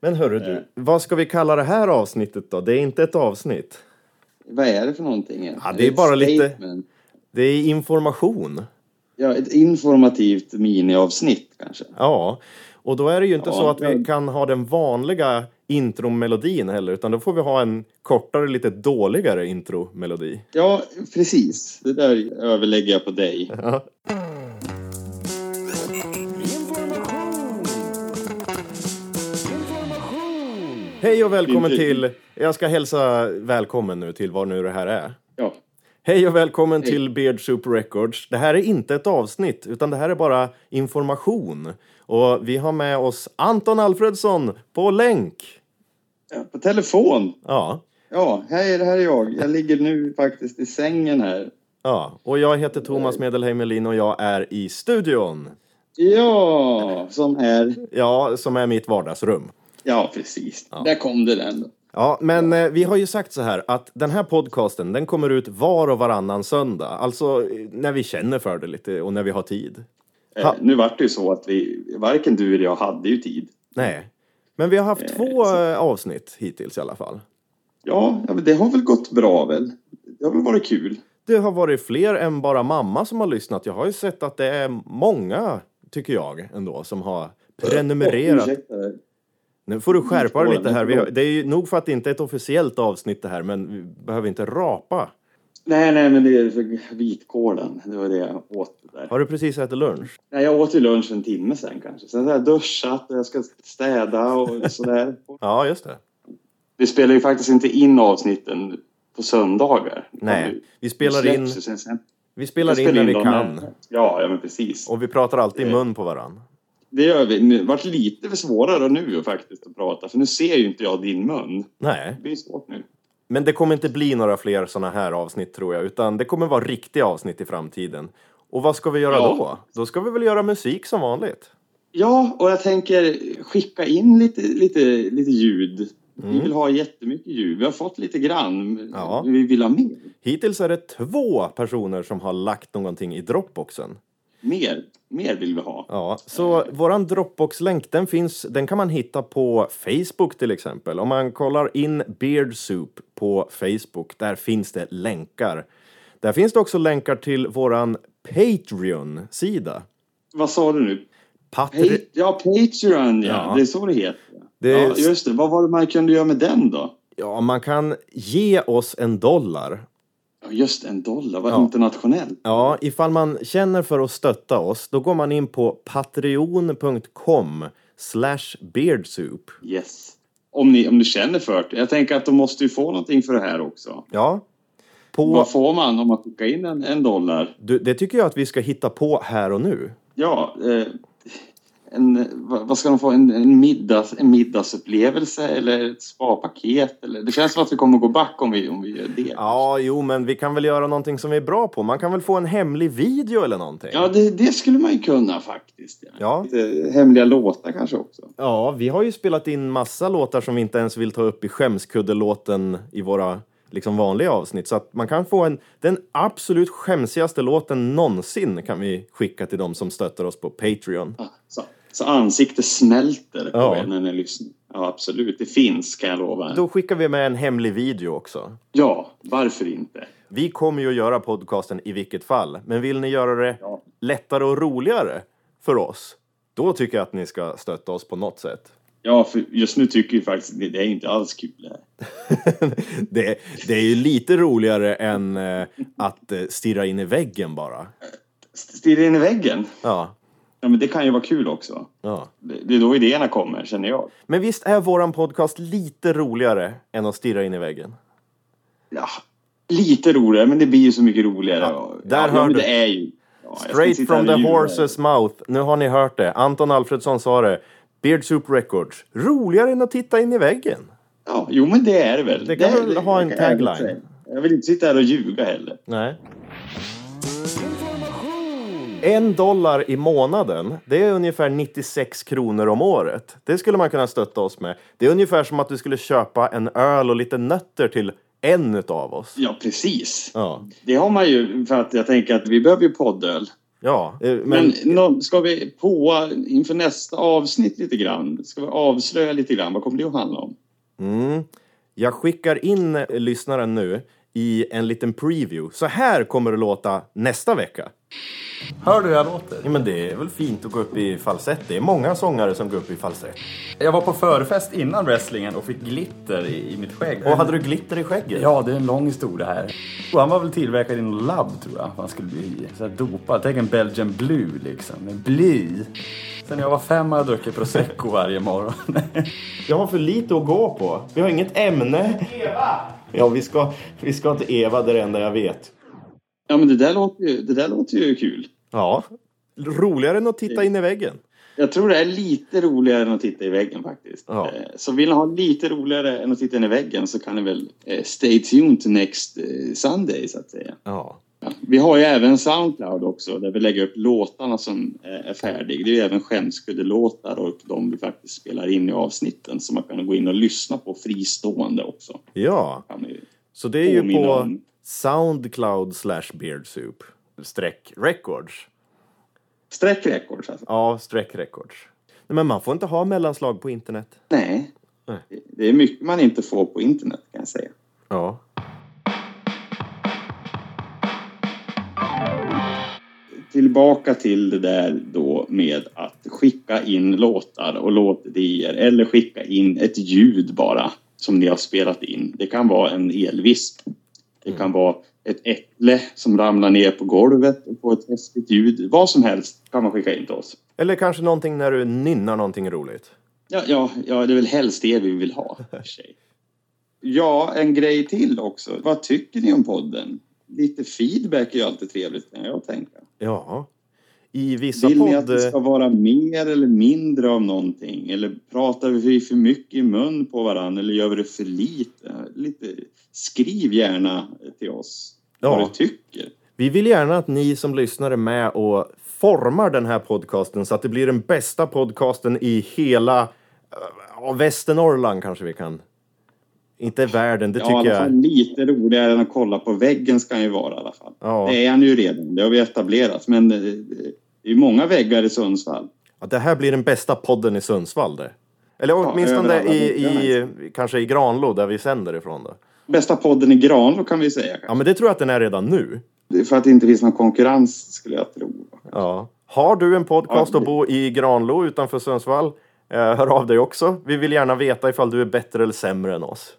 Men hörru Eh. du, vad ska vi kalla det här avsnittet då? Det är inte ett avsnitt. Vad är det för någonting? egentligen? Ja, det är ett bara lite- statement. Det är information. Ja, ett informativt miniavsnitt kanske. Ja, och då är det ju inte Ja, så att vi men- kan ha den vanliga intromelodin heller, utan då får vi ha en kortare, lite dåligare intromelodi. Ja, precis. Det där överlägger jag på dig. Ja. Hej och välkommen Inte- till... Jag ska hälsa välkommen nu till vad nu det här är. Ja, Hej och välkommen Hej. till Beard Soup Records. Det här är inte ett avsnitt, utan det här är bara information. Och vi har med oss Anton Alfredsson på länk. Ja, på telefon. Ja, Ja, hej, det här är jag. Jag ligger nu faktiskt i sängen här. ja. Och jag heter Thomas Medelheim Melin och jag är i studion. Ja, som är... Ja, som är mitt vardagsrum. Ja, precis. Där kom det den. Ja, men eh, vi har ju sagt så här att den här podcasten den kommer ut var och varannan söndag. Alltså eh, när vi känner för det lite och när vi har tid. Ha. Eh, nu vart det ju så att vi, varken du eller jag hade ju tid. Nej, men vi har haft två eh, avsnitt hittills i alla fall. Ja, ja, men det har väl gått bra väl? Det har väl varit kul? Det har varit fler än bara mamma som har lyssnat. Jag har ju sett att det är många, tycker jag ändå, som har prenumererat. Åh, ursäkta. Nu får du skärpa dig lite här. Vi har, Förlåt. det är ju nog för att det inte är ett officiellt avsnitt det här, men vi behöver inte rapa. Nej, nej, men det är för vitkålen. Det var det jag åt. Där. Har du precis ätit lunch? Nej, jag åt ju lunch en timme sen kanske. Sen har jag duschat och jag ska städa och sådär. Ja, just det. Vi spelar ju faktiskt inte in avsnitten på söndagar. Nej, vi Vi spelar in, släpps ju sen- sen- vi spelar in spelar när vi dem kan. när- Ja, ja, men precis. Och vi pratar alltid i Eh. mun på varann. Det gör vi. Det vart lite för svårare nu faktiskt att prata. För nu ser ju inte jag din mun. Nej, Det blir svårt nu. men det kommer inte bli några fler såna här avsnitt tror jag, utan det kommer vara riktiga avsnitt i framtiden. Och vad ska vi göra Ja. då? Då ska vi väl göra musik som vanligt? Ja, och jag tänker skicka in lite, lite, lite ljud. Vi vill ha jättemycket ljud. Vi har fått lite grann. men Mm. Ja. Vi vill ha mer. Hittills är det två personer som har lagt någonting i Dropboxen. Mer, mer vill vi ha. Ja, så våran Dropbox-länk, den finns, den kan man hitta på Facebook till exempel. Om man kollar in Beard Soup på Facebook, där finns det länkar. Där finns det också länkar till våran Patreon-sida. Vad sa du nu? Patri- Pa- ja, Patreon, ja. Ja. Det är så det heter. Det- Ja, just det. Vad var det man kunde göra med den då? ja, man kan ge oss en dollar. Ja, just en dollar. Vad Ja. internationellt. Ja, ifall man känner för att stötta oss, då går man in på patreon.com slash beardsoup. Yes. Om ni, om ni känner för det. Jag tänker att de måste ju få någonting för det här också. Ja. På, Vad får man om man skickar in en, en dollar? du, det tycker jag att vi ska hitta på här och nu. Ja, eh, en, vad vad ska de få? En, en, middags, en middagsupplevelse eller ett spapaket? Eller, det känns som att vi kommer gå back om vi, om vi gör det. Ja, jo, men vi kan väl göra någonting som vi är bra på. Man kan väl få en hemlig video eller någonting? Ja, det, det skulle man ju kunna faktiskt. Ja. Lite hemliga låtar kanske också. Ja, vi har ju spelat in massa låtar som vi inte ens vill ta upp i skämskuddelåten i våra liksom vanliga avsnitt. Så att man kan få en, den absolut skämsigaste låten någonsin kan vi skicka till dem som stöttar oss på Patreon. Ja, Så, så ansiktet smälter på Ja. er när ni lyssnar. Ja, absolut. Det finns, kan jag lova. er. Då skickar vi med en hemlig video också. Ja, varför inte? Vi kommer ju att göra podcasten i vilket fall, men vill ni göra det Ja. lättare och roligare för oss, då tycker jag att ni ska stötta oss på något sätt. Ja, för just nu tycker vi faktiskt det, det är inte alls kul. Det här. det, det är ju lite roligare än eh, att eh, stirra in i väggen bara. Stirra in i väggen? Ja, Ja, men det kan ju vara kul också. ja. Det, det är då idéerna kommer, känner jag. Men visst är våran podcast lite roligare än att stirra in i väggen? Ja, lite roligare, men det blir ju så mycket roligare. Ja, där ja, hör men du. Det är ju... Ja, jag ska inte Straight sitta from här the och ljuga. horse's mouth. Nu har ni hört det. Anton Alfredsson sa det. Beard Soup Records. Roligare än att titta in i väggen. Ja, jo, men det är det väl. Det kan är- väl ha en kan jag ärligt tagline. säga. Jag vill inte sitta här och ljuga heller. Nej. En dollar i månaden, det är ungefär 96 kronor om året. Det skulle man kunna stötta oss med. Det är ungefär som att du skulle köpa en öl och lite nötter till en utav oss. Ja, precis. Ja, Det har man ju för att jag tänker att vi behöver ju poddöl. Ja, eh, men, Men, nå- ska vi på inför nästa avsnitt lite grann? Ska vi avslöja lite grann? Vad kommer det att handla om? Mm, jag skickar in eh, lyssnaren nu i en liten preview. Så här kommer det låta nästa vecka. Hör du hur jag låter? Ja, men det är väl fint att gå upp i falsett? Det är många sångare som går upp i falsett. Jag var på förfest innan wrestlingen och fick glitter i, i mitt skägg. Och hade du glitter i skägget? Ja, det är en lång historia här. Och han var väl tillverkad i en labb tror jag. Han skulle bli så här dopad. Tänk en Belgian Blue liksom. En bly. Sen jag var fem har jag druckit prosecco varje morgon. Jag har för lite att gå på. Vi har inget ämne. Eva! Ja, vi ska, vi ska till Eva, det är det enda jag vet. Ja, men det där låter ju, det där låter ju kul. Ja. Roligare än att titta in i väggen. Jag tror det är lite roligare än att titta i väggen faktiskt. Ja. Eh, Så vill ni ha lite roligare än att titta in i väggen så kan ni väl eh, stay tuned till next eh, Sunday så att säga. Ja. Ja. Vi har ju även Soundcloud också där vi lägger upp låtarna som eh, är färdiga. Det är ju även skämskuddelåtar och de vi faktiskt spelar in i avsnitten som man kan gå in och lyssna på fristående också. Ja. Kan ni- Så det är ju Påminna på om- Soundcloud slash Beardsoup. Streck records. Sträck records alltså. Ja, streck records. Nej, men man får inte ha mellanslag på internet. Nej. Nej. Det- Det är mycket man inte får på internet kan jag säga. Ja. tillbaka till det där då med att skicka in låtar och låtidéer eller skicka in ett ljud bara som ni har spelat in. Det kan vara en elvisp. Det kan vara ett äpple som ramlar ner på golvet och får ett häftigt ljud. Vad som helst kan man skicka in till oss. Eller kanske någonting när du nynnar någonting roligt. Ja, ja, ja det är väl helst det vi vill ha. i och för sig. Ja, en grej till också. Vad tycker ni om podden? Lite feedback är ju alltid trevligt kan jag tänka. Ja. I vissa Vill ni att podd... det ska vara mer eller mindre av någonting? Eller pratar vi för mycket i mun på varandra? Eller gör vi det för lite? lite skriv gärna till oss vad Ja. du tycker. Vi vill gärna att ni som lyssnar är med och formar den här podcasten så att det blir den bästa podcasten i hela eh, Västernorrland kanske vi kan. Inte världen, det Ja, i tycker alla fall jag. lite roligare än att kolla på väggen ska han ju vara i alla fall. Ja. Det är han ju redan, det har vi etablerat. Men eh, det är ju många väggar i Sundsvall. Ja, det här blir den bästa podden i Sundsvall det. Eller åtminstone över alla i, byarna, i, kanske i Granlo där vi sänder ifrån då. Bästa podden i Granlo kan vi säga. Ja, men det tror jag att den är redan nu. Det är För att det inte finns någon konkurrens skulle jag tro. Ja. Har du en podcast Ja, och bor i Granlo utanför Sundsvall? eh, Hör av dig också. Vi vill gärna veta ifall du är bättre eller sämre än oss.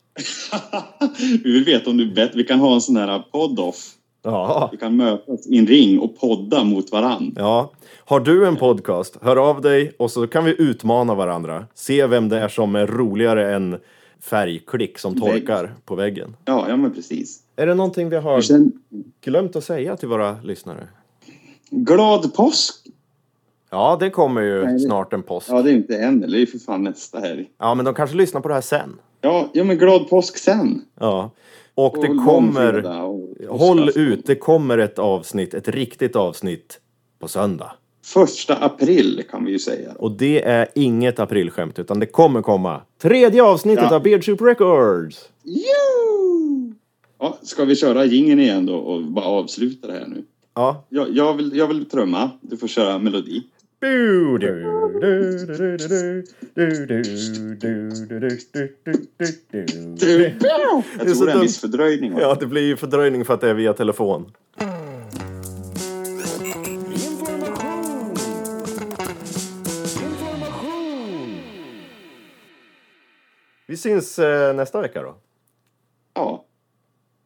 vi vill veta om du är bättre. Vi kan ha en sån här podd-off. Ja. Vi kan mötas i en ring och podda mot varann. Ja. Har du en podcast, hör av dig och så kan vi utmana varandra. Se vem det är som är roligare än färgklick som torkar på väggen. Ja, ja men precis. Är det någonting vi har Sen, glömt att säga till våra lyssnare? glad påsk! Ja, det kommer ju det- snart en påsk. Ja, det är inte än, eller det är för fan nästa helg. Ja, men de kanske lyssnar på det här sen. Ja, ja men glad påsk sen! Ja. Och det Och kommer... långfredag och Håll påskafton. ut, det kommer ett avsnitt, ett riktigt avsnitt på söndag. Första april kan vi ju säga. Och det är inget aprilskämt, utan det kommer komma. Tredje avsnittet Ja. av Beard Soup Records! Jo! Ja, ska vi köra gingen igen då och bara avsluta det här nu? Ja, Jag, jag, vill, jag vill trumma, du får köra melodi. Ja, Jag så tror det är dumt. en viss fördröjning. va? det blir ju fördröjning för att det är via telefon. Vi syns eh, nästa vecka då. Ja,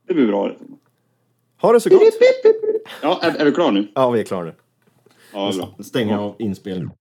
det blir bra. Ha det så gott! Ja, är, är vi klara nu? Ja, vi är klara nu. Ja, bra. Stäng av inspelningen.